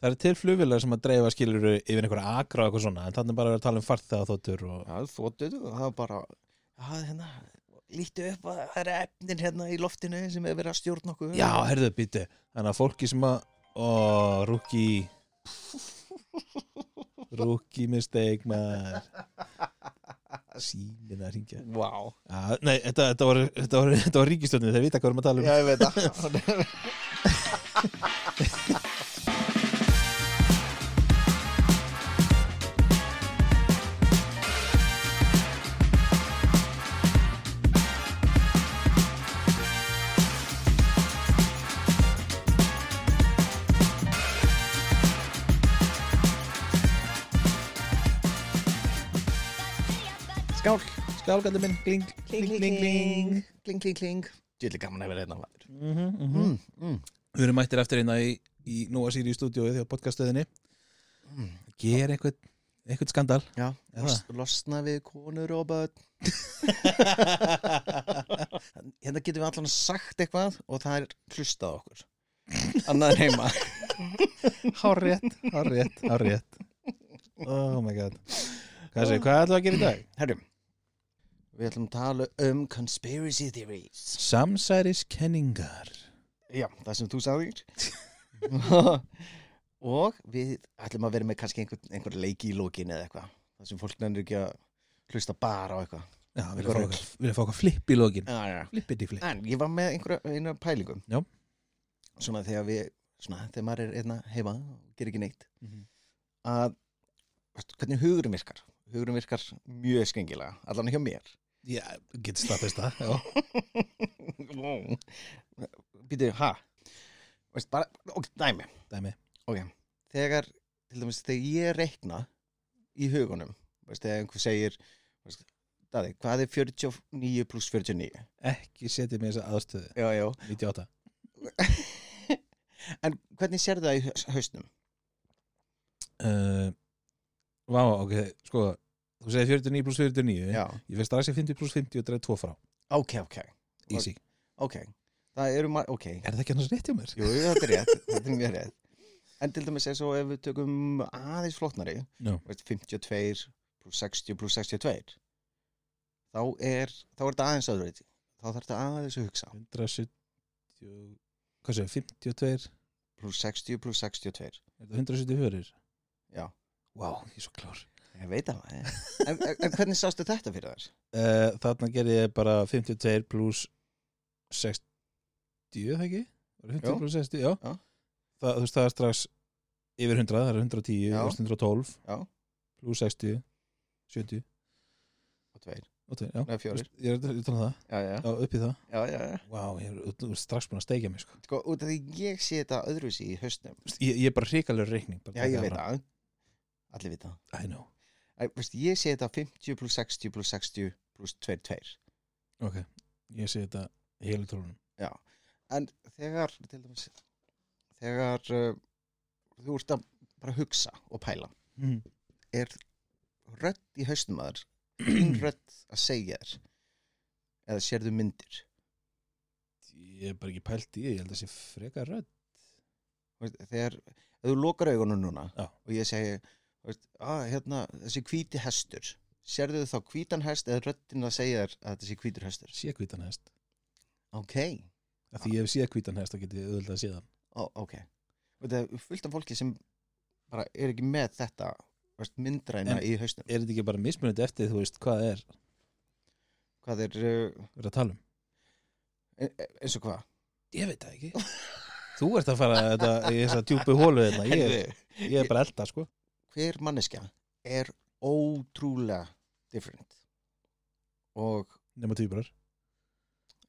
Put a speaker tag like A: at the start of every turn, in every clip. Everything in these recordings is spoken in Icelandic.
A: Það er til flugvilar sem að dreifa skiluru yfir einhverja akra og eitthvað svona en þannig bara að vera að tala um farþegaþóttur og...
B: það er þóttu það er bara já, hérna, lítu upp að það er efnin hérna í loftinu sem er verið að stjórna okkur
A: Já, herðu, býti Þannig að fólki sem að Ó, rúki Rúki mistake maður Símin að ringja
B: Vá.
A: ja, Nei, þetta, þetta var, þetta var, þetta var ríkistjörnum þeir vita hvað við erum að tala um
B: Já, ég veit það Skál
A: Skálgandi minn, gling,
B: Kling, kling, kling Kling, kling, kling Djöðli gaman að vera hérna maður
A: mm
B: mm, mm.
A: Við erum mættir eftir einna í, í Nóa Sýri í stúdíói því á podcaststöðinni
B: Mm.
A: Ger eitthvað, eitthvað skandal
B: Já,
A: Já.
B: los, losna við konur og börn Hérna getum við allan sagt eitthvað og það er hlustað á okkur Annað er heima
A: Hár rétt, hár rétt, hár rétt Oh my god Hvað segir, hvað ætlum við að gera í dag?
B: Herrum Við ætlum að tala um conspiracy theories
A: Samsæriskenningar
B: Já, það sem þú sagðir Og við ætlum að vera með kannski einhver, einhver leiki í lókin eða eitthvað Það sem fólk nennir ekki að hlusta bara á eitthvað
A: Já, vilja fá okkar, vilja fá okkar flip í lókin
B: Já, já, já
A: Flippið í flip
B: En ég var með einhverja einhverja pælingum
A: Já.
B: Svona þegar við svona, þegar maður er einna heima og gerir ekki neitt
A: Mhm.
B: að veistu, hvernig hugurum virkar hugurum virkar mjög skengilega allan hjá mér
A: Já, getur staðfist það já.
B: Býtu, ha? Veist, bara, ok, dæmi
A: Dæmi
B: þegar, til dæmis, þegar ég reikna í hugunum veist, þegar einhver segir veist, Daði, hvað er 49 pluss 49?
A: Ekki setja mig í þessa aðstöðu
B: Já, já
A: 98
B: En hvernig sér það í haus- hausnum?
A: uh, Vá, ok, sko Þú segir 49 pluss 49
B: Já,
A: Ég veist strax ég 50 pluss 50 og dreif 2 frá
B: ok, ok,
A: Easy
B: ok Það eru maður, ok
A: Er það ekki annars rétt hjá mér?
B: Jú, jú, þetta er rétt, þetta er mjög rétt En til dæmis er svo ef við tökum aðeins flóknari
A: Já.
B: veist, 52 pluss 60 pluss 62 þá er, þá er þetta aðeins öðruvíti þá þarf þetta aðeins að hugsa
A: 170 Hvað segir, 52
B: pluss 60 pluss 62
A: Er það 174?
B: Já.
A: Vá, ég er svo klár
B: Ég veit það en, en, en hvernig sástu þetta fyrir þær?
A: uh, Þarna gerði ég bara 52 pluss 60 það ekki? Var það
B: Jú.
A: 50 pluss 60, já,
B: Já.
A: Það, Þú veist, það er strax yfir 100, það er 110
B: Já.
A: og 112
B: Já.
A: pluss 60 70
B: Og tveir,
A: og tveir, já.
B: neða fjórir
A: Ég er ég er að tala um það,
B: Já, já,
A: já, upp í það
B: já, já, já.
A: Vá, ég er, þú er strax búin að steikja mig sko.
B: Sko, út af því ég sé þetta öðruvísi í hausnum
A: Þú veist, ég, ég er bara hrikalegur reikning bara
B: Já, ég veit það Allir vita það
A: I know,
B: Æ, veist, ég sé þetta 50 pluss 60 pluss 60 pluss 2, 2
A: ok Ég sé þetta í heilu tólunum
B: en þegar til dæmis þegar uh, þú ert að bara hugsa og pæla Mhm.
A: mm.
B: er rödd í haustum aður þín rödd að segja þér eða sérðu myndir
A: Ég er bara ekki pælt í því, ég held að sé frekar rödd
B: Þú veist, þegar ef þú lokar augunum núna
A: Já.
B: og ég segi þú veist, ah, hérna, þessi hvíti hestur sérðu þá hvítan hest eða röddin að segja þér að þessi hvítur hestur
A: Sé hvítan hest
B: ok,
A: Af því ég hef séð hvítan hest, þá getið ég auðvitað að sé þann
B: Ó, ok Og það er fullt af fólki sem bara er ekki með þetta þú veist, myndræna
A: En-
B: í haustum
A: Er þetta ekki bara mismunandi eftir, þú veist, hvað það er
B: hvað er uh,
A: Við erum að tala um
B: e- e- eins og hvað
A: Ég veit það ekki Þú ert að fara þetta, í þessa djúpu hólu þetta ég,
B: Heyrðu,
A: ég er bara að elda, sko
B: hver manneskja er ótrúlega different og
A: Nefna tvíburar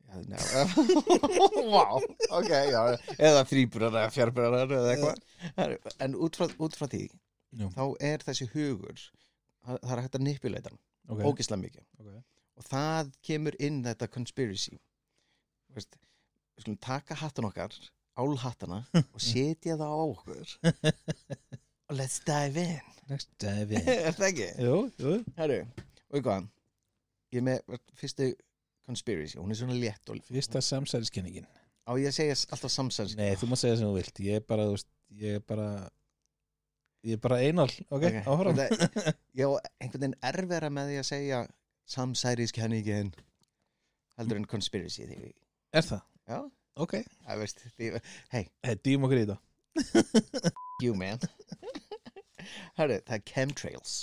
B: já, nei, wow, ok, já, eða þrýburar eða fjárburar eða eitthvað Herru, en út frá, út frá því
A: Já.
B: þá er þessi hugur það það er hægt að nippuleita hann,
A: Ok,
B: ógislega mikið
A: ok
B: og það kemur inn þetta conspiracy Veist, við skulum taka hattan okkar álhattana og setja það á okkur og let's dive in
A: Next dive in
B: er það ekki?
A: Jú, jú
B: Herru, og hvað ég er með fyrstu conspiracy hún er svona létt og
A: Fyrsta samsæriskenningin
B: á ég að segja s- alltaf samsæns
A: Nei, þú má segja sem þú vilt Ég er bara, þú veist, ég er bara Ég er bara einal, ok,
B: Ok,
A: áfram
B: og það- Ég á einhvern veginn erfera með því að segja samsæriskenningin heldur en conspiracy því.
A: Er það?
B: Já,
A: Ok,
B: það veist, því,
A: hey, dýjum okkur í þetta
B: you man. Hörru, það er chemtrails.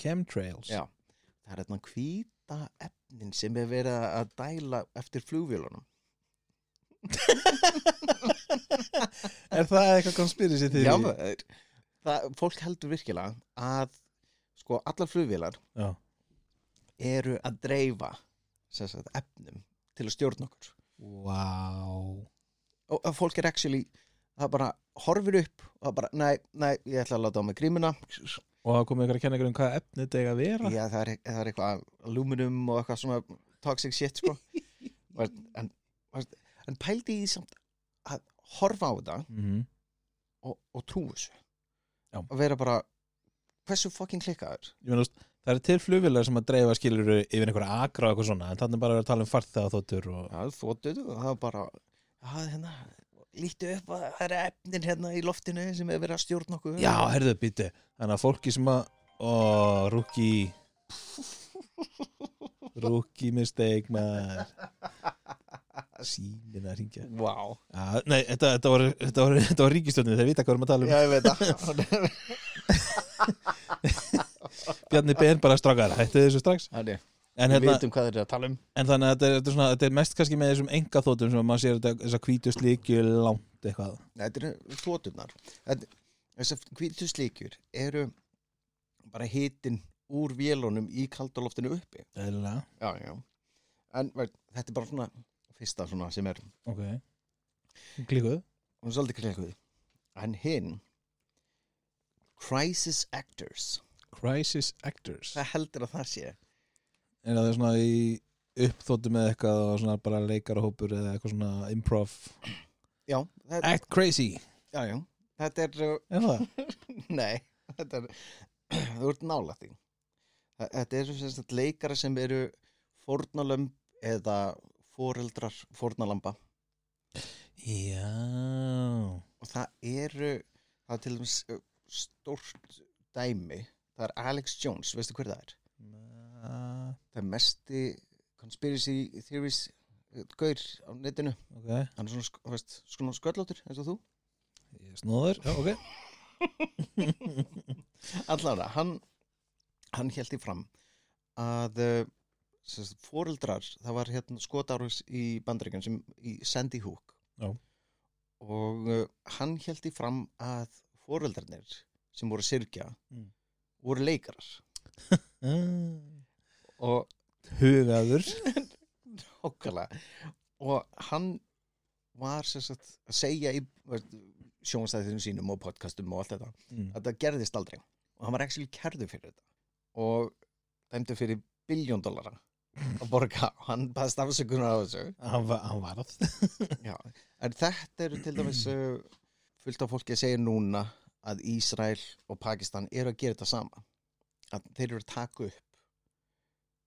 A: Chemtrails
B: Já, það er þarna hvíta efnin sem er verið að dæla eftir flugvélunum.
A: Er það eitthvað conspiracy til
B: Já, maður. það, fólk heldur virkilega að sko allar flugvélar
A: Já.
B: eru að dreifa sem sagt, efnum til að stjórna okkur.
A: Wow
B: Og að fólk er actually, það bara horfir upp og það bara, nei, nei, ég ætla að láta á mig grímuna.
A: Og það komið ykkur að kenna ykkur um hvað efnið þetta eiga að vera
B: Já, það er, það er eitthvað aluminum og eitthvað svona toxic shit, sko. Og- en, en pældi í því samt að horfa á þetta
A: Mhm.
B: og, og trú þessu
A: Já.
B: að vera bara hversu fucking klikkaður
A: Ég meina, þú veist, Það er til flugvilar sem að dreifa skilur yfir einhverja akra og eitthvað svona en þannig bara að vera að tala um farþega þóttur og...
B: já, þóttuðu og það var bara já, hérna, líktu upp að það er efnin hérna í loftinu sem er verið að stjórna okkur
A: Já, herðu, býti Þannig að fólki sem að Ó, rúki Rúki mistake maður Símin að ringja
B: wow.
A: Já, nei, þetta, þetta var, þetta var, þetta var ríkistjórnir, þeir vita hvað við erum að tala um.
B: já, ég veit það
A: Bjarni Ben bara strákar, hættu þessu strax.
B: Þannig,
A: En,
B: við
A: hérna,
B: vitum hvað þeir eru að tala um
A: en þannig að þetta er, þetta, er svona, þetta er mest kannski með þessum enga þótum sem að maður sér þetta, þessa hvítu slíkju langt eitthvað.
B: Nei, þetta eru þótturnar þessar hvítu slíkjur eru bara hitin úr vélunum í kaldaloftinu uppi
A: Eðlilega.
B: já, já. en veit, þetta er bara svona fyrsta svona sem er
A: Ok. Klíkuð.
B: hún er svolítið klikkuð en hinn Crisis Actors
A: Crisis Actors.
B: hvað heldur að það sé?
A: Er það svona í uppþótum með eitthvað og svona bara leikarahópur eða eitthvað svona improv.
B: já, það,
A: Act Crazy.
B: já, já. þetta er uh,
A: Er það?
B: nei, þetta er þú ert nálægt því Þa- þetta eru sem sagt leikara sem eru fórnalömb eða foreldrar fórnalamba
A: Já.
B: og það eru það er til dæmis uh, stórt dæmi það er Alex Jones, veistu hver það er? það er mesti conspiracy theories uh, gaur á netinu
A: Ok.
B: hann er svona, sk- þú veist, svona sköllóttur eins og þú
A: Ég er Snóður. Já, ok.
B: allara, hann hann held í fram að uh, sem sagt, foreldrar, það var hérna skotárus í bandaríkjum sem í Sandy Hook
A: Já.
B: og uh, hann held í fram að foreldrarnir sem voru að syrkja
A: Mm.
B: voru leikarar
A: Ah.
B: og
A: hugaður
B: Nákvæmlega. Og hann var sem sagt að segja í sjónstæðinu sínum og podcastum og allt þetta
A: Mm.
B: að þetta gerðist aldrei og hann var ekki kærður fyrir þetta og dæmdu fyrir biljón dollara að borga og hann baðst afsökunar á þessu
A: hann, va hann var að
B: Já. en þetta eru til dæmis uh, fullt af fólki að segja núna að Ísrael og Pakistan eru að gera þetta sama að þeir eru að taka upp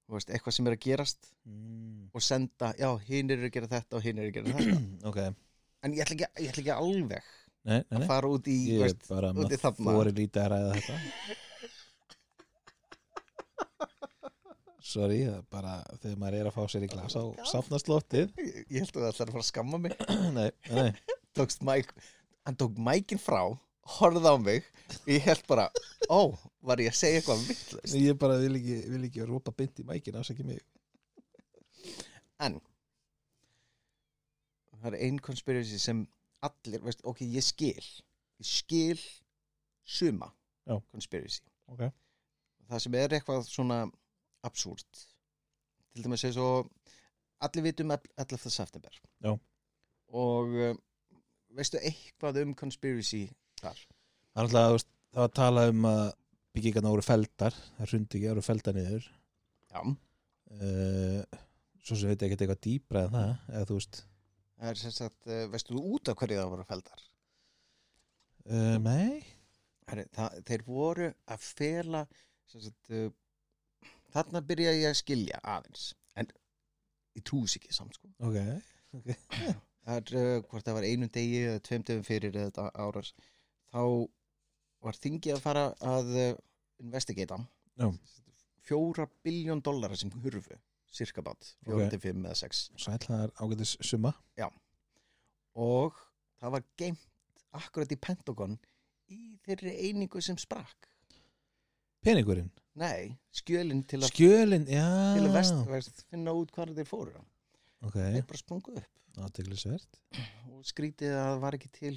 B: Þú veist, eitthvað sem er að gerast
A: Mm.
B: og senda, já, hinn eru að gera þetta og hinn eru að gera þetta
A: ok,
B: en ég ætla ekki, ég ætla ekki alveg
A: nei, nei,
B: að
A: nei
B: fara út í
A: ég er
B: veist,
A: bara
B: út
A: með
B: í þarna.
A: þóri lítið að ræða þetta sorry, það er bara þegar maður er að fá sér í glas á safnastlóttið
B: ég ég held að það ætlar að fara að skamma mig
A: nei, nei,
B: tókst Mike, hann tók mækin frá horfði á mig ég held bara, ó, var ég að segja eitthvað vittlust
A: ég bara vil ekki, vil ekki rúpa bind í mækin, afsækja mig
B: en það er ein conspiracy sem allir, veist, ok, ég skil ég skil suma
A: Já.
B: conspiracy
A: ok,
B: það sem er eitthvað svona absúrt til dæmis eins og allir vitum 11. september
A: Já.
B: og uh, veistu eitthvað um conspiracy þar
A: það er alltaf þú veist, það var að tala um að byggingarna voru feldar það hrundi ekki, það voru feldar niður
B: já,
A: uh, svo sem veit ekki eitthvað dýpra en það eða þú veist
B: það er sem sagt uh, veistu þú út af hverju það voru feldar
A: uh, nei,
B: Herri, það, þeir voru að fela sem sagt uh, þarna byrja ég að skilja aðeins en ég trúis ekki samt sko
A: ok
B: það er, uh, hvort það var einum degi eða tveim dögum fyrir eða þetta áras þá var þingið að fara að eh, investigata
A: Já.
B: fjóra biljón dollara sem hurfu cirka bát,
A: Ok.
B: 45 okay. eða 6
A: Sætlaðar ágætis summa
B: og það var geimt akkurat í Pentagon í þeirri einingu sem sprakk
A: Peningurinn,
B: nei, skjölin til að,
A: skjölin, já
B: til að vest, vest, finna út hvar þeir fóru
A: Ah. Ok,
B: þeir bara sprungu upp
A: aðteglisvert
B: og skrítið að það var ekki til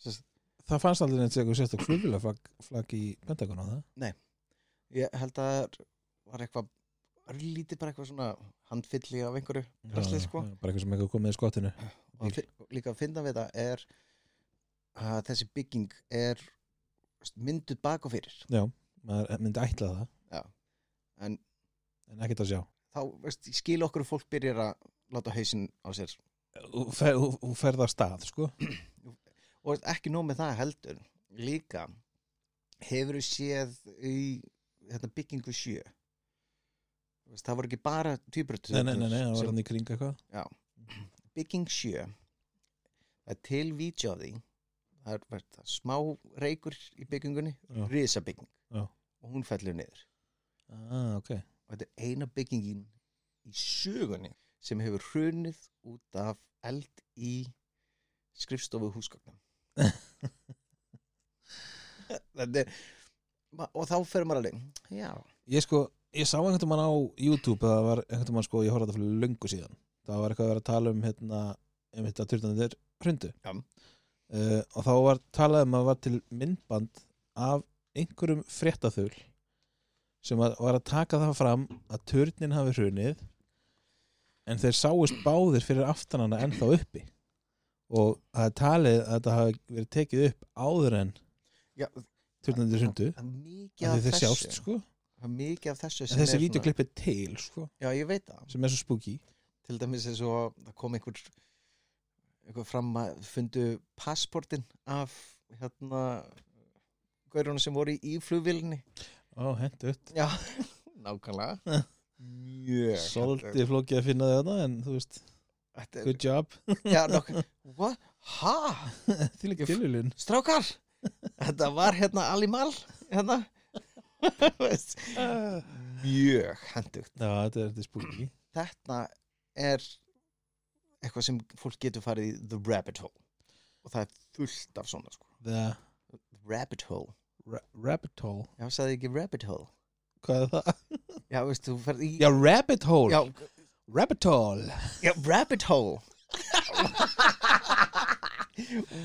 B: sest,
A: Það fannst aldrei neitt eitthvað sérstök flugvillaflag flagg í Pentagon á það
B: ég held að það var eitthvað örlítið bara eitthvað svona handfylli af einhverju drasli
A: Já,
B: sko
A: já, Bara eitthvað sem eitthvað komið í skottinu
B: og að fi- líka að finna við það er að þessi bygging er mynduð bak og fyrir
A: Já, maður eh, myndi ætla það
B: Já. En-
A: En ekkert að sjá
B: þá veist, ég skil okkur að fólk byrjar að láta hausinn á sér
A: Þú fer, þú- þú ferð af stað, sko
B: og ekki nóg með það heldur líka hefur þú séð í þetta byggingu sjö veist, það voru ekki bara tvíbrötu
A: Nei, nei, nei, nei, það var hann í kring eitthvað
B: bygging 7 það er til vídeo af því það er bara það, smá reykur í byggingunni
A: Já.
B: risabygging
A: Já.
B: og hún fellur niður
A: Ah, ok
B: og þetta er eina byggingin í sögunni sem hefur hrunið út af eld í skrifstofu húsgagnum þetta er ma- og þá fer maður alveg já,
A: Ég sko, ég sá einhvern mann á YouTube að það var einhvern mann sko, ég horfði á þetta fyrir löngu síðan það var eitthvað að vera að tala um hérna um þetta turtanir hrundu
B: Já.
A: Eh, og þá var talað um að var til myndband af einhverjum fréttaþul sem var, var að taka það fram að turnin hafi hrunið en þeir sáist báðir fyrir aftan hana ennþá uppi og það er talið að þetta hafi verið tekið upp áður en
B: já
A: turtanir hrundu
B: það er mikið
A: að
B: af
A: þeir
B: þessu
A: sjást sko
B: það er mikið af þessu
A: en þessi
B: er svona-
A: vídeoklipp er til sko
B: já, ég veit það
A: sem er svo spooky
B: til dæmis eins og það kom einhver einhver fram að fundu passportin af hérna gaurunum sem voru í flugvillinni
A: Ó, hendutt
B: já, nákvæmlega mjög
A: Svolítið flókið að finna þetta en þú veist,
B: Þetta er-
A: good job
B: já, nákvæmlega What? ha,
A: Því líka tilhjulun
B: strákar þetta var hérna Alimal hérna Veist,
A: Já,
B: mjög hendugt
A: þetta er þetta er spooky
B: þetta er eitthvað sem fólk getur farið í the rabbit hole og það er fullt af svona sko.
A: The
B: rabbit hole
A: ra rabbit hole
B: Já, sagði ég ekki rabbit hole
A: Hvað er það?
B: Já, veist, þú ferð í
A: Já, rabbit hole
B: já,
A: Rabbit hole
B: já, rabbit hole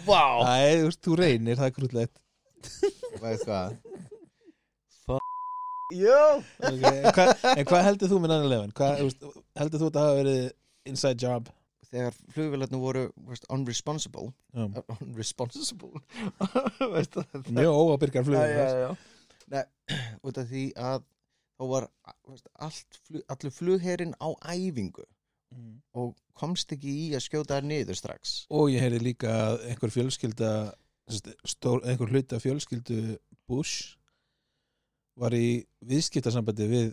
B: Vá
A: Æ, þú veist, þú reynir, það er grútlegt
B: Veist hvað F*** Jó
A: okay. hva, En hvað heldur þú með 9-11? Hvað, þú veist, heldur þú þetta hafa verið inside job?
B: Þegar flugvélarnir voru veist, unresponsible
A: Já.
B: uh, Unresponsible Veist það
A: Mjög óabirgar
B: Já,
A: flugum
B: já, já Nei, út af því að þá var veist, allt, flug, allur flugherinn á æfingu
A: Mm.
B: og komst ekki í að skjóta þær niður strax
A: Og ég heyrði líka að einhver fjölskylda sem sagt, stór, einhver hluta fjölskyldu Bush var í viðskiptasambandi við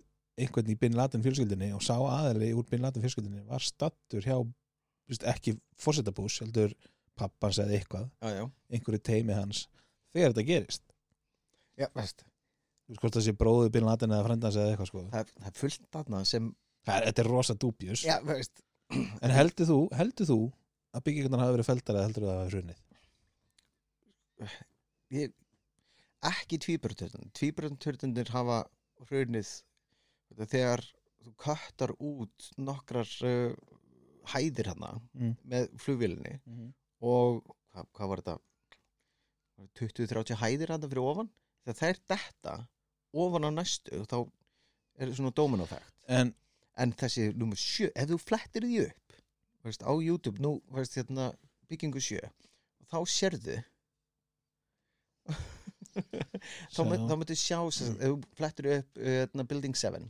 A: einhvern í Bin Laden fjölskyldinni og sá aðali úr Bin Laden fjölskyldinni var stattur hjá þú veist, ekki fórseta Bush, heldur pappans eða eitthvað,
B: Já, já
A: einhverju teimi hans þegar þetta gerist
B: Já, veist
A: Þú veist hvort það sé bróðu Bin Laden eða frendans eða eitthvað sko
B: það, er- það er fullt þarna sem
A: Það- Þetta er rosa dúbjus
B: já, veist,
A: En heldur þú, heldur þú að byggingarnar hafi verið feldar eða heldur þú að það hafi hrunnið?
B: ég, ekki tvíburutörnundir tvíburutörnundir hafa hrunið þegar þú köttar út nokkrar uh, hæðir hana
A: Mm.
B: með flugvélinni og hvað, hvað var þetta 20-30 hæðir hana fyrir ofan þegar þær detta ofan á næstu þá er svona dóminofægt
A: En
B: en þessi nummer 7, ef þú flettir því upp veist, á YouTube, nú veist, hérna, byggingu 7 þá sérðu þá, mynd,
A: Sjá.
B: þá myndir sjá sem, sagt, ef þú flettir upp uh, hérna, Building 7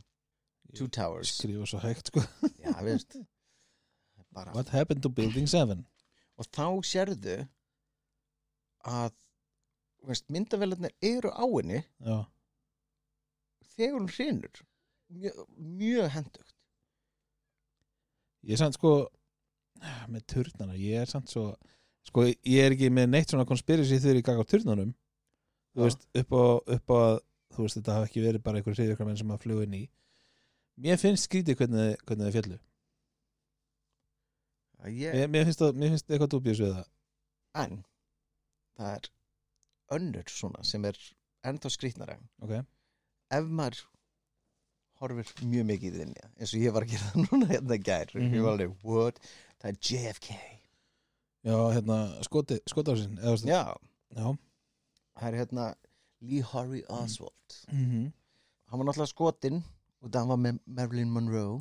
B: Two Towers
A: skrifa svo hægt sko
B: já, veist bara,
A: What happened to building 7?
B: og þá sérðu að veist, myndavélarnar eru á henni
A: Já,
B: þegar hún hrinur mjög, mjög hendugt
A: ég er samt sko með turnana, ég er samt svo sko ég er ekki með neitt svona konspirasi þegar ég gagði á turnunum þú veist, upp á, upp á að þú veist, þetta hafi ekki verið bara einhver hriðjöklar menn sem að flugu inn í mér finnst skrítið hvernig, þið- hvernig þið fjallu
B: Að ég,
A: mér, mér, finnst það, mér finnst eitthvað dúbjus við það
B: en það er önnur svona sem er ennþá skrýtnara
A: ok,
B: ef maður horfir mjög mikið í þinni eins og ég var að gera það núna hérna í gær
A: Mhm.
B: ég var alveg, what? Það er JFK
A: já, hérna skoti, skotásin, eða þú veist
B: Já,
A: já,
B: það er hérna Lee Harvey Oswald
A: mhm
B: hann var náttúrulega skotinn og það var með Marilyn Monroe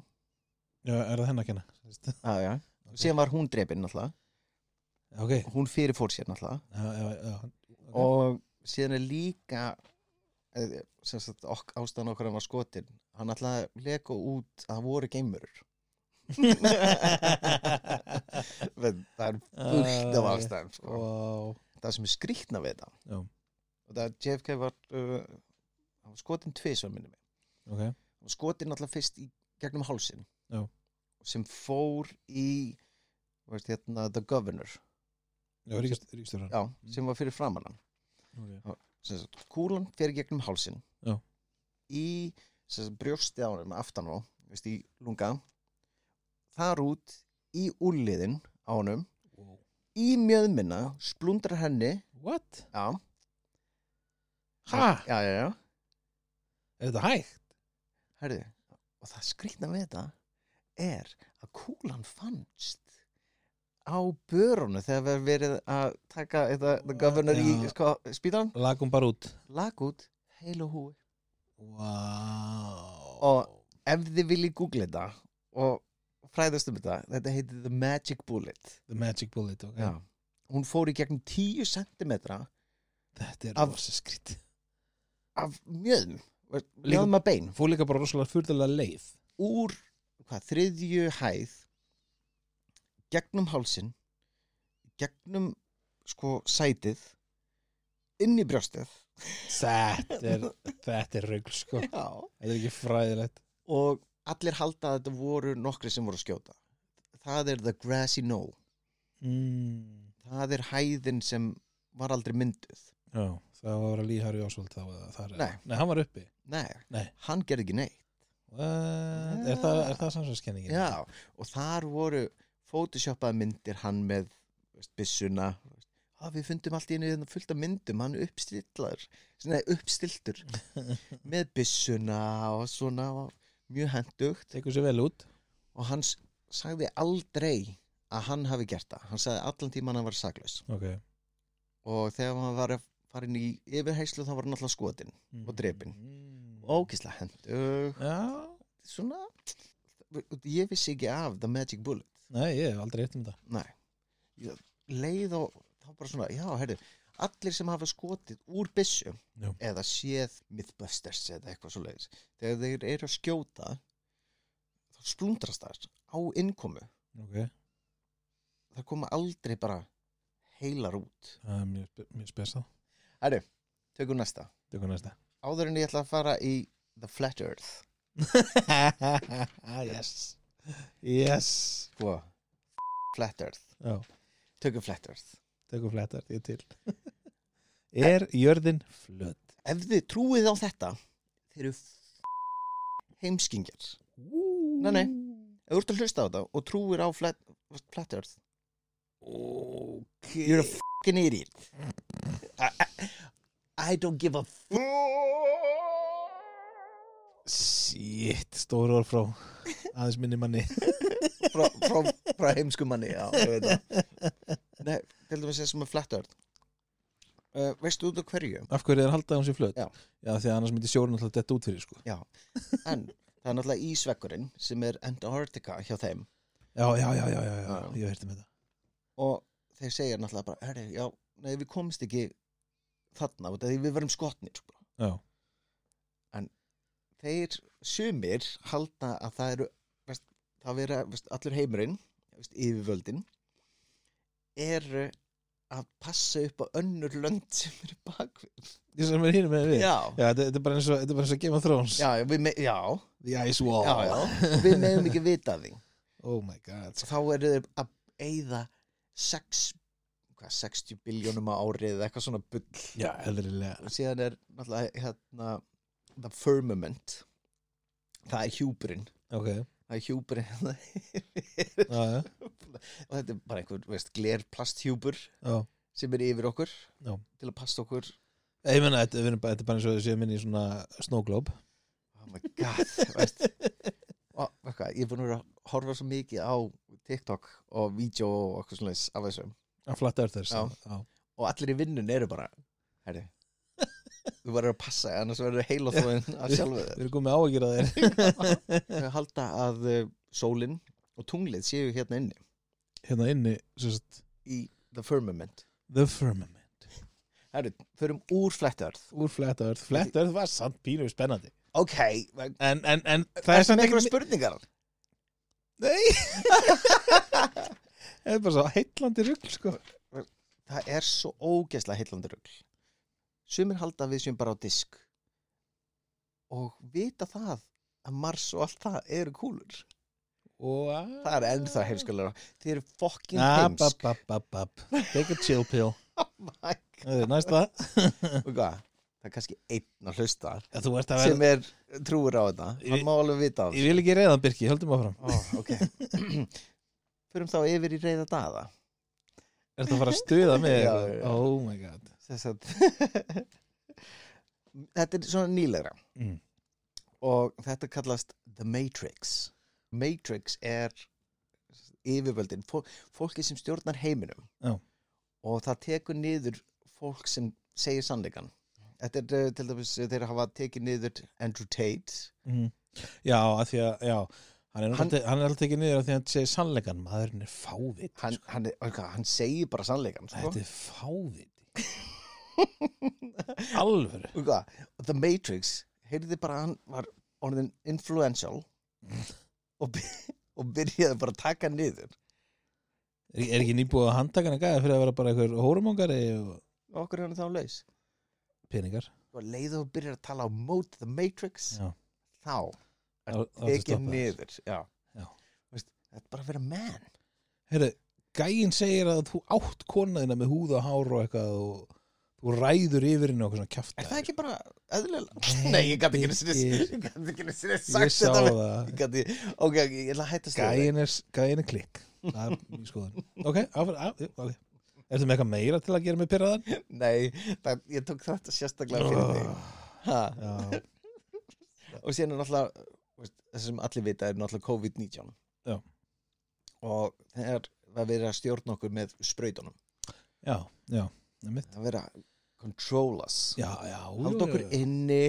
A: já, er það henn að kenna Þú veist.
B: ah, já. síðan var hún drepin náttúrulega
A: ok,
B: hún fyrirfór sér náttúrulega
A: já, já, já Ok.
B: og síðan er líka eh, sem sagt ok, ástæðan okkur hann var skotinn hann ætlaði að leka út að það voru geimurur Men það er fullt af ástæðan sko.
A: wow.
B: það sem er skrýtna við þetta
A: Ah, Já.
B: og það er JFK var, uh, hann var skotinn tvisvar minni mig
A: ok,
B: hann var skotinn alltaf fyrst í gegnum hálsin
A: Já.
B: sem fór í þú veist, hérna, The Governor
A: já, ríkist, ríkistjóran
B: já, sem var fyrir framan hann
A: okay.
B: sem sagt, kúlan fer gegnum hálsin
A: Já.
B: í sem sagt, brjósti á honum aftan á, veist, í lunga þar út í úliðin á honum
A: Wow.
B: í mjöðminna, splundrar henni
A: what?
B: já,
A: ha,
B: já, já, já,
A: er þetta hægt?
B: herðu og það skrýtna við þetta er að kúlan fannst á börunu þegar við erum verið að taka þetta, the governor
A: Já.
B: í sko, spítan,
A: lagum bara út
B: lag út heil og húi
A: wow.
B: Og- ef þið viljið googla þetta og fræðast um þetta þetta heitir The Magic Bullet
A: the magic bullet okay.
B: hún fór í gegnum 10 cm
A: Þetta er
B: Af-
A: rosa skrít
B: af mjöðum mjöðum að bein
A: Fór líka bara rosalega fyrðulega leið
B: úr hvað, þriðju hæð gegnum hálsin gegnum sko sætið inn í brjóstið
A: Þetta er, þetta er rugl sko
B: Já.
A: Þetta er ekki fræðilegt
B: og allir halda að þetta voru nokkri sem voru að skjóta það er The Grassy Knoll
A: mm.
B: það er hæðin sem var aldrei mynduð
A: Já, það var að líhari Ásvöld þá eða þar eða-
B: Nei.
A: Nei, hann var uppi
B: Nei,
A: Nei.
B: hann gerði ekki neitt
A: What?
B: Ja.
A: Er það, er það samsvæmskenningin?
B: Já, og þar voru photoshoppað myndir hann með veist, byssuna veist, ah, við fundum allt í einu hérna fullt af myndum hann uppstillar, svona uppstiltur með byssuna og svona og mjög hendugt
A: Tekur sér vel út
B: og hann s- sagði aldrei að hann hafi gert það hann sagði allan tíma hann var saklaus
A: Ok
B: og þegar hann var að fara inn í yfirheyslu þá var hann alltaf skotin Og drepinn.
A: mm.
B: ókislega hendugt
A: Já,
B: svona ég vissi ekki af The Magic Bullet
A: nei, ég hef aldrei hitt um það
B: Nei, ég, leið og þá bara svona, já, herri, allir sem hafa skotið úr byssu
A: Já.
B: eða séð Mythbusters eða eitthvað svo leiðis, þegar þeir eru að skjóta þá splundrast það á innkomu,
A: Ok,
B: það koma aldrei bara heilar út.
A: það er mjög, spe- mjög spesað
B: Herri, tökum næsta.
A: Tökum næsta
B: Áður en ég ætla að fara í The Flat Earth.
A: Yes Yes
B: Hva? sko, Flat Earth.
A: Já
B: Tökum Flat Earth.
A: Tökum flettar, ég til Er jörðin flöt?
B: Ef þið trúið á þetta, þeir eru heimskingjar. Nei, nei. Ef þú ert að hlusta á þetta og trúir á flat, flat earth
A: Ok
B: You're a f***ing idiot I, I- I don't give a f***
A: Shit, stóru orð frá aðeins minni manni
B: frá, frá, frá heimskum manni Já, ég veit það Nei, til dæmis þessum með flat earth uh, Veistu út á hverju?
A: Af hverju er haldið að hún sé flöt?
B: Já.
A: Já, því að annars myndi sjórun alltaf detta út fyrir sko
B: Já, en það er náttúrulega ísveggurinn sem er Antarctica hjá þeim
A: Já, já, já, já, já, já.
B: Já.
A: ég hef um hérti með það
B: og þeir segja náttúrulega bara Herri, já, nei, við komumst ekki þarna út af því við verum skotnir sko.
A: Já,
B: þeir sumir halda að það eru veist, það vera veist, allur heimurinn veist, yfirvöldin eru að passa upp á önnur lönd sem eru bakvið
A: ég sem er hínum með við
B: já,
A: Já, þetta þetta er bara eins og, þetta er bara eins og Game of Thrones
B: já, við, me já,
A: The Ice Wall
B: já, já við meðum ekki vita af því
A: Oh my god
B: þá eru þeir að eyða 6 hvað, 60 biljónum á árið eða eitthvað svona bull
A: Já, eðlilega
B: og síðan er náttúrulega hérna the firmament það er hjúpurinn
A: Ok,
B: það er hjúpurinn hérna.
A: já, já,
B: og þetta er bara einhver, veist, glerplasthjúpur
A: já.
B: sem er yfir okkur
A: Já.
B: til að passa okkur
A: Ég ég meina, þetta, við erum bara- þetta er bara eins og þessi minni í svona snóglóp
B: oh my god, veist og eitthvað, ég er búin að vera að horfa svo mikið á TikTok og vídeo og okkur svona af þessu
A: að flatta öll þess
B: Já.
A: já.
B: og allir í vinnun eru bara herri, þú verður að passa annars verður heil og þóðin að sjálfu
A: Við erum komið á að gera þér
B: þér halda að eh, sólin og tunglið séu hérna inni
A: Hérna inni, sem sagt,
B: í the firmament
A: The Firmament
B: herri, förum úr flettarð
A: Úr fletta öll, fletta öll var samt pínu spennandi
B: ok,
A: En, en, en það
B: það
A: er
B: er sem
A: samt
B: einhverja
A: ekki
B: spurningar
A: Nei Það er bara svo heitlandi rugl, sko
B: það er svo ógeðslega heillandi rugl sumir halda að við séum bara á disk og vita það að Mars og allt það eru kúlur það er ennþá heimskulega þið eru
A: Ah,
B: fokkin heimsk
A: heimsk Take a chill pill
B: oh my God.
A: Það er næsta
B: og hvað, það er kannski einn að hlusta
A: Já, Þú ert að
B: sem
A: vera
B: er trúur á þetta hann
A: Ég-
B: má alveg vita á
A: Ég vil ekki reyðan, Birki, höldum áfram
B: þessu ok förum þá yfir í reyða daða
A: Ertu að fara að stuða mig?
B: Já,
A: eitthvað?
B: já.
A: Oh my god
B: Þess að- þetta er svona nýlegra
A: Mm.
B: og þetta kallast The Matrix Matrix er yfirvöldin, fó- fólki sem stjórnar heiminum
A: Já.
B: og það tekur niður fólk sem segir sannleikan þetta er eh, til dæmis eh, þeir hafa tekið niður Andrew Tate
A: Mhm. Já, að því að, já Hann er,
B: Hann-
A: hann, hann er alltaf ekki niður af því að hann segir sannleikan maðurinn er fávit
B: hann, hann, er- ok, hann segir bara sannleikan sko.
A: Þetta er fáviti Alvöru
B: Og hvað, The Matrix heyrði bara að hann var orðin influential og, by- og byrjaði bara að taka hann niður
A: Er, er ekki nýbúið að handtaka hann gæða fyrir að vera bara einhver hórumongari og
B: og okkur er hann þá laus
A: peningar
B: og leiðu og byrjaði að tala á mót The Matrix
A: Já.
B: þá
A: Þá- þá ertu
B: tekið
A: stoppaður.
B: niður já.
A: Já.
B: Veist, þetta er bara að vera man
A: Heyrðu, gæinn segir að þú átt konaðina með húð og hár og eitthvað og þú ræður yfir henni og eitthvað svona kjafta
B: er það ekki bara eðlilega?
A: Nei,
B: nei, ég gæti ekki einu sinni-
A: Birgir.
B: ég gat ekki einu sinni
A: Ég
B: sagt
A: sá
B: þetta við-
A: það
B: ég gat ekki, ok, ég ætla að hætta stöðu
A: Gæinn er, gæin er klikk Það er mín skoðun Ok, af, af, ok Ertu með eitthvað meira til að gera mig pyrraðan?
B: nei, það, ég tók þetta sérstaklega fyrir þig ha,
A: Já,
B: og síðan er náttúrulega þú veist, það sem allir vita er náttúrulega COVID-19
A: Já.
B: og það er að vera að stjórna okkur með sprautunum
A: já, já einmitt.
B: það vera að control us
A: Já, já jú,
B: halda
A: jú,
B: okkur
A: jú.
B: inni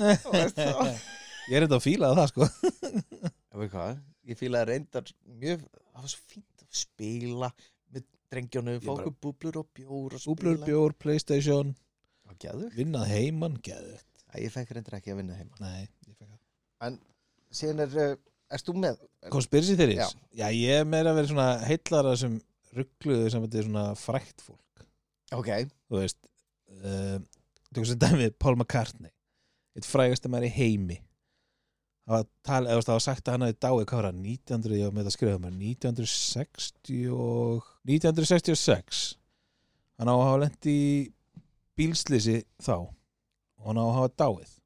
B: Þú veist það.
A: Ég er þetta að fíla það sko
B: Ég veit hvað, ég fíla að reyndar mjög, það var svo fínt að spila með drengjónu, fá
A: Ég bara-
B: okkur búblur og bjór og spila
A: Úblur, bjór, Playstation,
B: og geður,
A: vinnað heiman, geðu
B: ég fekk reyndar ekki að vinna heima
A: Nei, ég fæk að
B: síðan er, eh, erst þú með
A: Konspirsi þeirri?
B: Já.
A: Já, ég er meira að vera svona heillara sem ruggluðu sem þetta er svona frækt fólk
B: ok,
A: þú veist um, tökum sem dæmið Paul McCartney eitt frægasti maður í heimi það var, tal, eða, þú veist, það var sagt að hann hafi dáið hvað var það, 1900, ég var með þetta að skrifa um maður 1960 og 1966 hann á að hafa lent í bílslýsi þá og hann á að hafa dáið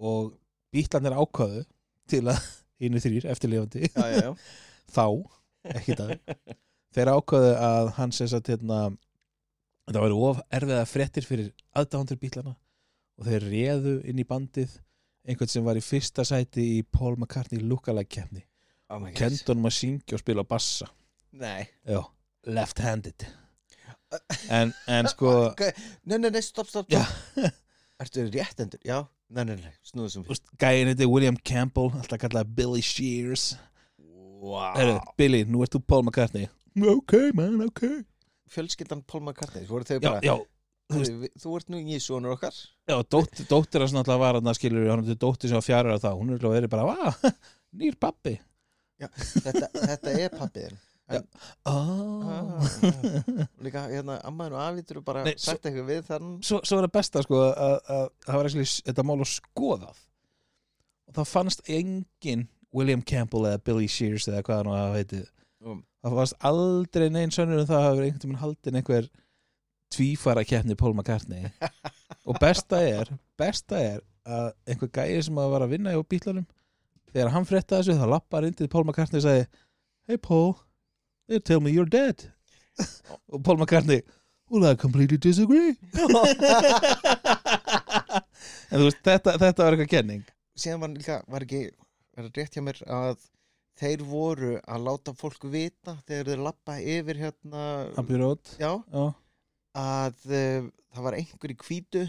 A: og bítlarnir ákvaðu til að hínu þrýr eftirlifandi
B: já, já, já
A: þá, ekki dag þeir ákvaðu að hann sem sagt hérna þetta væri of erfiða fréttir fyrir aðdándur bílana og þeir réðu inn í bandið einhvern sem var í fyrsta sæti í Paul McCartney lookalike keppni
B: oh my god,
A: kendi honum að syngja og spila bassa
B: nei
A: já, left-handed en, en sko
B: Ok, Nei, nei, nei, stopp, stopp,
A: Já.
B: stopp Ertu réttendur? Já, nei, nei, nei, snúðu sem fyrir
A: úst, gæin þetta er William Campbell alltaf kallaði Billy Shears Heru,
B: wow.
A: Billy, nú ert þú Paul McCartney Ah. ok man, ok
B: Fjölskyldan Paul McCartney, voru þau
A: já,
B: bara
A: já,
B: Þú, veist, þú ert nú í sonur okkar
A: Já, dóttir, dóttir hans náttúrulega var hann að skilur hann til dóttir sem var fjara þá, hún er alveg verið bara "Vá, nýr pappi
B: Þetta, þetta er pappiðin
A: oh.
B: Líka, hérna, ammaðin og afið eru bara
A: Nei,
B: sagt eitthvað við þann
A: svo, svo er það besta sko að að það var ekki þetta mál að skoðað og það fannst engin William Campbell eða Billy Shears eða hvað hann var að heiti
B: Um.
A: það varst aldrei neinn sönnur um það að hafa verið einhvern tímann haldin einhver tvífara keppni Paul McCartney og besta er besta er að einhver gæi sem að var að vinna í bílunum þegar hann frétta þessu þá lappar inn til Paul McCartney og sagði Hey Paul, they tell me you're dead og Paul McCartney Well I completely disagree en þú veist þetta, þetta var eitthvað kenning
B: síðan var, líka, var ekki var rétt hjá mér að þeir voru að láta fólk vita þegar þeir lappa yfir hérna
A: Abbey Road
B: já,
A: Já,
B: að uh, það var einhver í hvítu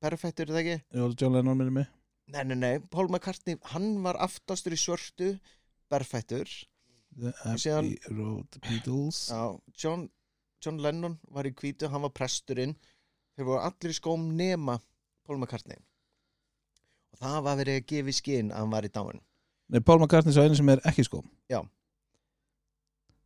B: perfektur það ekki
A: jú, John Lennon minni mig
B: nei, nei, nei, Paul McCartney, hann var aftastur í svörtu berfættur
A: The
B: Síðan-
A: Abbey Road Beatles
B: já, John, John Lennon var í hvítu, hann var presturinn þeir voru allir í skóm nema Paul McCartney og það var verið að gefa í skinn að hann var í dáin
A: Nei, Paul McCartney svo einu sem er ekki sko
B: Já.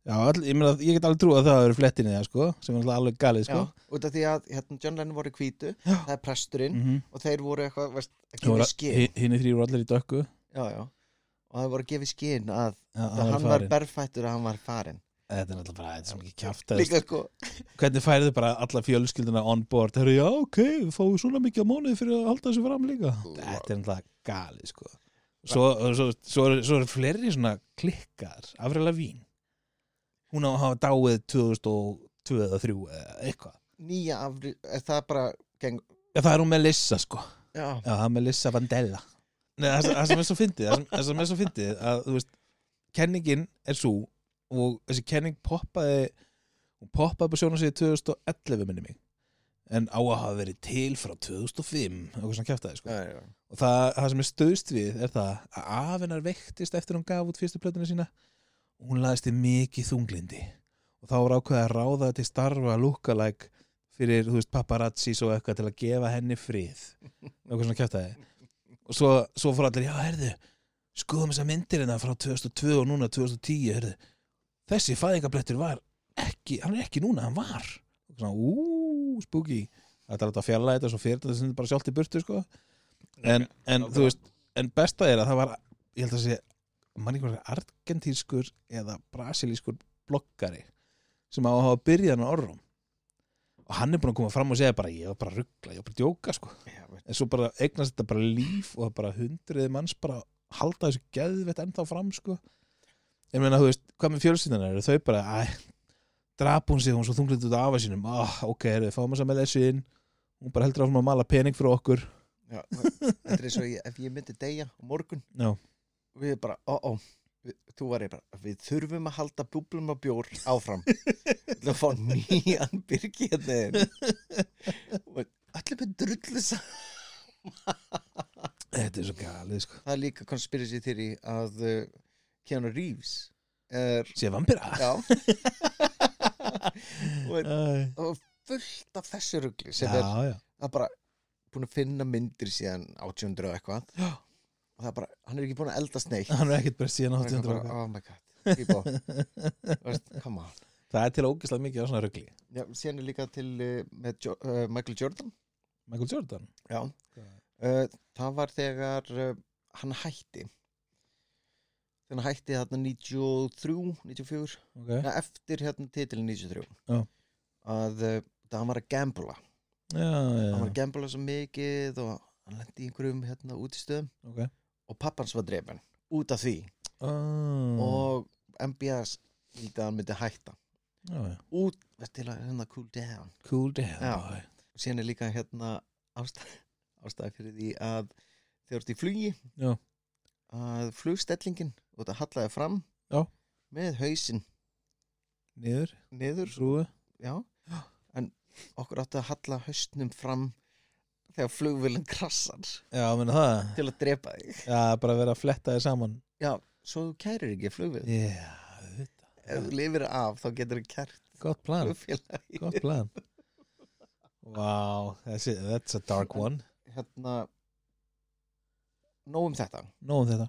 A: Já, all, ég, meina, ég get alveg trú að það eru flettin í það sko sem er náttúrulega alveg galið sko
B: út af því að hérna, John Lennon voru í hvítu það er presturinn
A: Mhm.
B: og þeir voru eitthvað veist, að
A: Svo
B: gefa
A: voru-
B: í skinn
A: hi- Hinir þrýr voru allir í dökku
B: já, já. og það voru að gefa í skinn að,
A: Já,
B: að hann var
A: farinn.
B: berfættur að hann var farin
A: Þetta er náttúrulega bara, þetta er svo mikið kjáft
B: líka sko
A: Hvernig færðu bara alla fjölskylduna on board Herru, já, ok, við fáum svona mikið á mónuði fyrir að halda þessu fram líka Þetta er náttúrulega galið sko Svo, svo, svo, eru- svo eru fleiri svona klikkar Afrið Lavín Hún á að hafa dáið 2002 eða 3 eða eitthvað
B: nýja afri, er það bara geng,
A: Já, það er hún Melissa sko
B: já,
A: Já, það er Melissa Vandella Nei, það, það sem er svo fyndið það sem- Það sem er svo fyndið að, þú veist Kenningin er svo og þessi kenning poppaði hún poppaði upp á sjónu sig 2011 minni mig en á að hafa verið til frá 2005 eitthvað svona kjæftaði sko
B: já, já.
A: og það, það sem er stöðst við er það að afinar veiktist eftir hún gaf út fyrstu plötuna sína og hún laðist í mikið þunglindi og þá var ákveðið að ráða til starfa lookalike fyrir, þú veist, paparazzis og eitthvað til að gefa henni frið eitthvað svona kjátaði og svo, svo fór allir, já, herðu skoðum þess að myndir hérna frá 2002 og núna 2010, herðu þessi fæðingablettur var ekki hann er ekki núna, hann var og svona, ú, spooky þetta er alltaf að fjalla þetta svo fyrir þetta sem bara sjálft í burtu sko. en, en þú veist en besta er að það var ég held að sé, mann einhver argentískur eða brasilískur bloggari sem á að hafa byrjað hann orrum og hann er búin að koma fram og segja bara ég var bara að ruggla, ég var bara að djóka sko
B: já veist,
A: en svo bara eignast þetta bara líf og bara hundriði manns bara halda þessu geðvett ennþá fram sko ég meina þú veist, hvað með fjölsyndan eru þau bara, æ, drap hún sig hún svo þunglit út af afa sínum, ah, ok erum við fáum þess að með þessu inn hún bara heldur áfram að mala pening fyrir okkur
B: já, þetta er eins og ég, ef ég myndi deyja á morgun
A: já,
B: við erum bara, ó, ó við- þú var ég bara, við þurfum að halda búblum og bjór áfram við ætlum að fá nýjan byrgi hérna inn. Og allir með drullu saman.
A: þetta er svo galið sko
B: það er líka konspirasi þeirri að uh, Keanu Reeves er,
A: sé vampira
B: já og er
A: Æ.
B: og fullt af þessu rugli sem er,
A: já, já,
B: það er bara búin að finna myndir síðan 800 og eitthvað
A: Já.
B: og það er bara, hann er ekki búin að eldast neitt
A: hann er ekkert bara síðan
B: Hann er eitthvað
A: 800
B: bara,
A: ára.
B: oh my god people Þú veist, come on
A: það er til ógislega mikið á svona rugli
B: Já, síðan er líka til eh, með jo uh, Michael Jordan
A: Michael Jordan
B: Já
A: Hvað?
B: uh, Það var þegar uh, hann hætti Þegar hann hætti þarna 93, 94
A: ok,
B: Nei, eftir hérna titilin 93
A: Já.
B: að uh, það hann var að gambla
A: já, já,
B: hann var að gambla svo mikið og hann lendi í einhverjum hérna út í stöðum
A: ok
B: og pappans var drefin út af því
A: Ah,
B: og MBS vildi að hann myndi hætta
A: já, já.
B: út veist, til að hérna cool down
A: cool down
B: Já.
A: boy.
B: og síðan er líka hérna ástæð, ástæð fyrir því að þegar þú ert í flugi
A: Já.
B: að flugstellingin og þetta hallaði fram
A: Já.
B: með hausinn
A: niður,
B: niður
A: rúi
B: já. en okkur átti að halla hausnum fram þegar flugvillin krassar
A: Já, menn það,
B: til að drepa þig
A: já, bara vera að fletta þér saman
B: já, svo þú kærir ekki flugvill
A: Já, þetta,
B: ef þú lifir af þá getur þú kært
A: gott plan,
B: flugfélagi
A: gott plan Vá, that's, it, that's a dark one
B: hérna nóg um þetta
A: Nóum þetta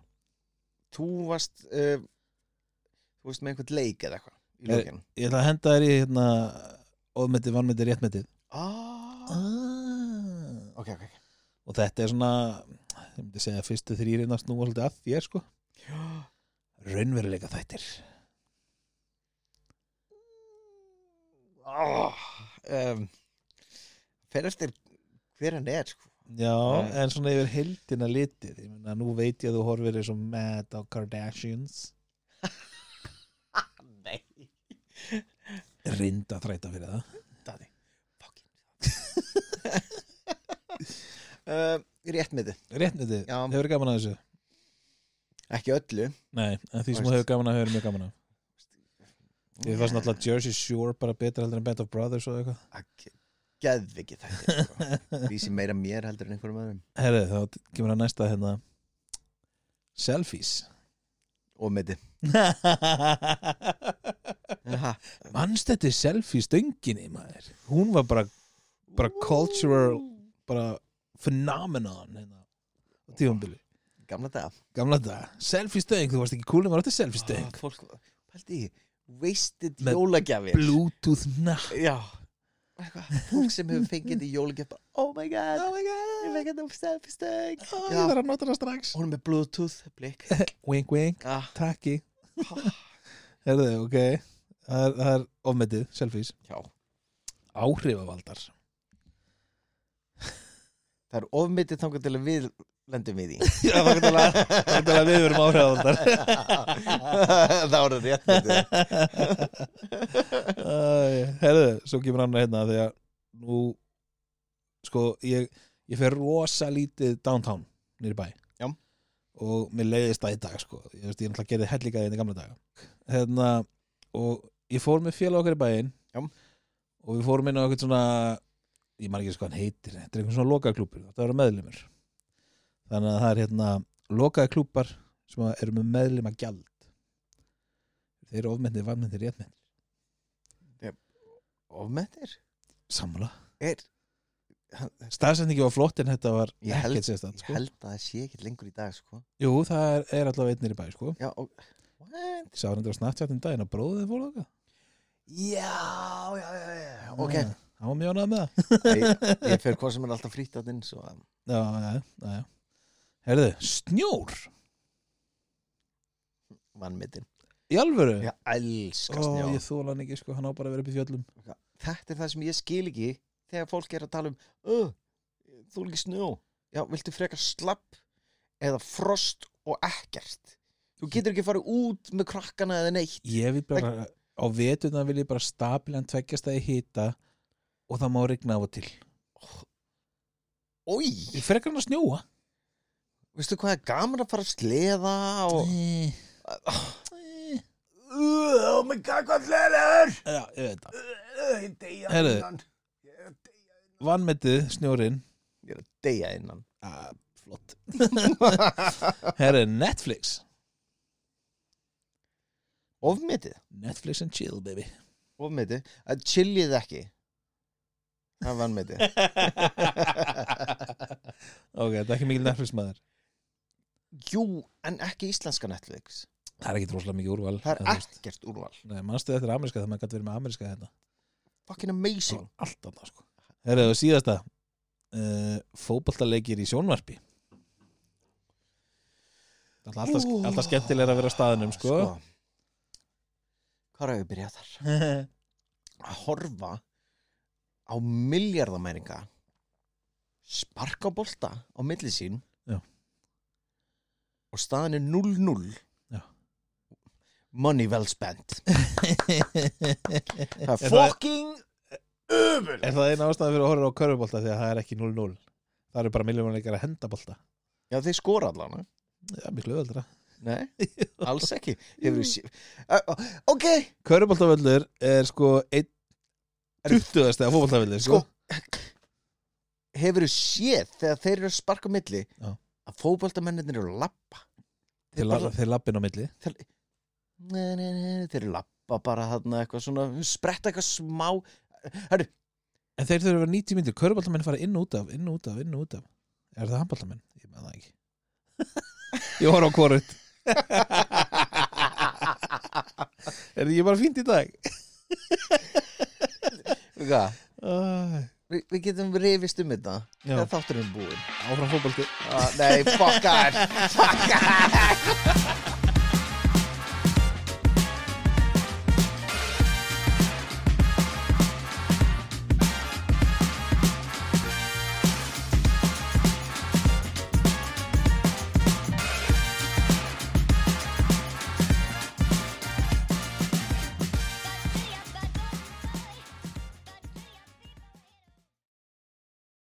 B: þú varst uh, þú varst með einhvern leik eða eitthvað í
A: Er-
B: lókin
A: Ég ætla að henda þér í hérna óðmetið, vannmetið, réttmetið
B: ah.
A: ah.
B: ok, ok, ok
A: Og þetta er svona ég myndi segja að fyrstu þrýrinn að snúa svolítið að þér sko
B: Já.
A: Raunveruleika þættir
B: oh, um, fer eftir hver hann er sko.
A: Já,
B: Nei.
A: en svona yfir heildina litið Ég meina, nú veit ég að þú horfir eins og mad á Kardashians
B: Nei
A: Rinda þræta fyrir það
B: Daddy, fucking um, Rétt með þið
A: Rétt með þið,
B: Já.
A: hefur gaman að þessu
B: Ekki öllu
A: Nei, en því sem
B: Veist.
A: þú hefur gaman að hefur mjög gaman að Þið fannst náttúrulega Jersey Shore bara betra heldur en Band of Brothers og eitthvað
B: Geðvi ekki þetta sko. Lýsi meira mér heldur en einhverjum öðrum
A: Herri, þá kemur að næsta hérna Selfies
B: Og með þið Ha,
A: Manst þetta er selfie stönginni maður Hún var bara, bara cultural bara phenomenon hérna, á tífambili
B: Gamla daga
A: Gamla dag, selfie stöng, þú varst ekki cool en maður átti selfie
B: Ah,
A: stöng
B: Fólk, pældi ég Wasted
A: Með
B: jólagjafir
A: Bluetooth napp
B: Já Eitthvað, Fólk sem hefur fengið þetta í jólagjafir Oh my god
A: Ah, my
B: Ég
A: god,
B: fekk þetta um selfie-stöng
A: oh,
B: Já.
A: ég þarf að nota það strax
B: Hún er með bluetooth blik
A: Wink wink,
B: ah,
A: takki Ah. Herðu, ok Það er, það er ofmetið, selfies
B: Já
A: Áhrifavaldar
B: Það er ofmyndið þangar til að við lendum við í
A: Já, það er þetta að við verum áhrifavaldar
B: Það voru rétt með þið
A: Æ, Herðu, svo kemur hann hérna því að nú sko, ég, ég fer rosa lítið downtown nýri bæ
B: Já.
A: og mér leiðist það í dag sko. ég, veist, ég náttúrulega gerði hellíkaði í gamla daga hérna, og ég fór með félag okkar í bæinn
B: Já.
A: og við fórum inn á eitthvað svona ég maður ekki eins hvað hann heitir þetta er einhvern svona lokaklúpur, þetta verður meðlumur þannig að það er hérna lokaði klúpar sem eru með meðlum að gjald þeir eru ofmyndið, varmyndið, réttmynd
B: Ofmyndir?
A: sammála
B: Er,
A: staðsendingi var flott en þetta var
B: Ég held-
A: ekkert sérstætt
B: ég
A: sko.
B: held að það sé ekkert lengur í dag sko.
A: jú, það er, er allavega einnir í bæ sko.
B: Já, og, What?
A: sá hann endur á Snapchat um daginn að bróðið þið fólu okkar
B: já, já, já, já Ok,
A: hann var mjög ánægð með það
B: ég, ég fer hvað sem er alltaf frýtt að þinn svo að
A: já, já, já, já. herðu, snjór
B: vannmyndin
A: í alvöru
B: Ég elska
A: Ó,
B: snjó
A: ég þóla hann ekki, sko, hann á bara að vera upp í fjöllum
B: Þetta er það sem ég skil ekki þegar fólk er að tala um "Ö, Þú er ekki snjó Já, viltu frekar slapp eða frost og ekkert Þú getur ekki farið út með krakkana eða neitt
A: ég vil bara, á veturna vil ég bara stabilan tveggjast að ég hita og það má rigna af og til
B: Ói,
A: ég frekar hann að snjóa
B: veistu hvað er gaman að fara að sleða og
A: Nei.
B: Ah.
A: Nei.
B: Oh my god, hvað sleður
A: Eh. já, ég veit það
B: Ég deyja
A: Heyrðu.
B: innan
A: vannmetið, snjórin
B: Ég er að deyja innan
A: ah, flott herru, Netflix
B: Ofmetið,
A: Netflix and chill, baby
B: ofmetið Að chillið ekki Það er vannmetið
A: Ok, þetta er ekki mikil Netflix maður
B: Jú, en ekki íslenska Netflix
A: Það er ekki droslega mikið úrval
B: Það er
A: eða þú veist.
B: ekkert úrval
A: Nei, manstu þetta er ameríska þegar maður gæti verið með ameríska hérna
B: Fucking amazing
A: var allt annað sko Herru, og síðasta uh, Fótboltaleikir í sjónvarpi Það er alltaf,
B: Ú.
A: alltaf skemmtilega að vera á staðinum sko,
B: Hvað er að við byrja þar? Að horfa á miljardamæringa sparka bolta á milli sín
A: Já.
B: og staðan er 0-0
A: Já.
B: Money well spent Það er
A: Er það-
B: fucking öful
A: Er það eina ástæðan fyrir að horfa á körfubolta því að það er ekki 0-0 Það eru bara miljónleikar að henda bolta
B: Já, þeir skora allan eh?
A: Já, miklu öðuldra
B: Nei, alls ekki Hefur
A: Mm.
B: við sé... Ö, ö, Ok,
A: Körfuboltavöllur er sko einn 20. eða fótboltavöllur sko.
B: sko hefur þú séð þegar þeir eru að sparka á milli
A: Já.
B: að fótboltamennir eru að lappa
A: þeir, la þeir lappin á milli
B: nei, nei, nei, þeir eru að lappa bara þarna eitthvað svona spretta eitthvað smá Herru,
A: En þeir þurfa að vera 90 myndir, körfuboltamenn fara inn og út af inn og út af, inn og út af Er það handboltamenn? Ég með það ekki Ég horf á hvorut Er ég bara fínt í dag?
B: hvað?
A: Æ,
B: Vi, við getum rifist um þetta
A: Já.
B: þegar þátturinn er búinn
A: Áfram fótbolti
B: ah, nei, fuck off fuck off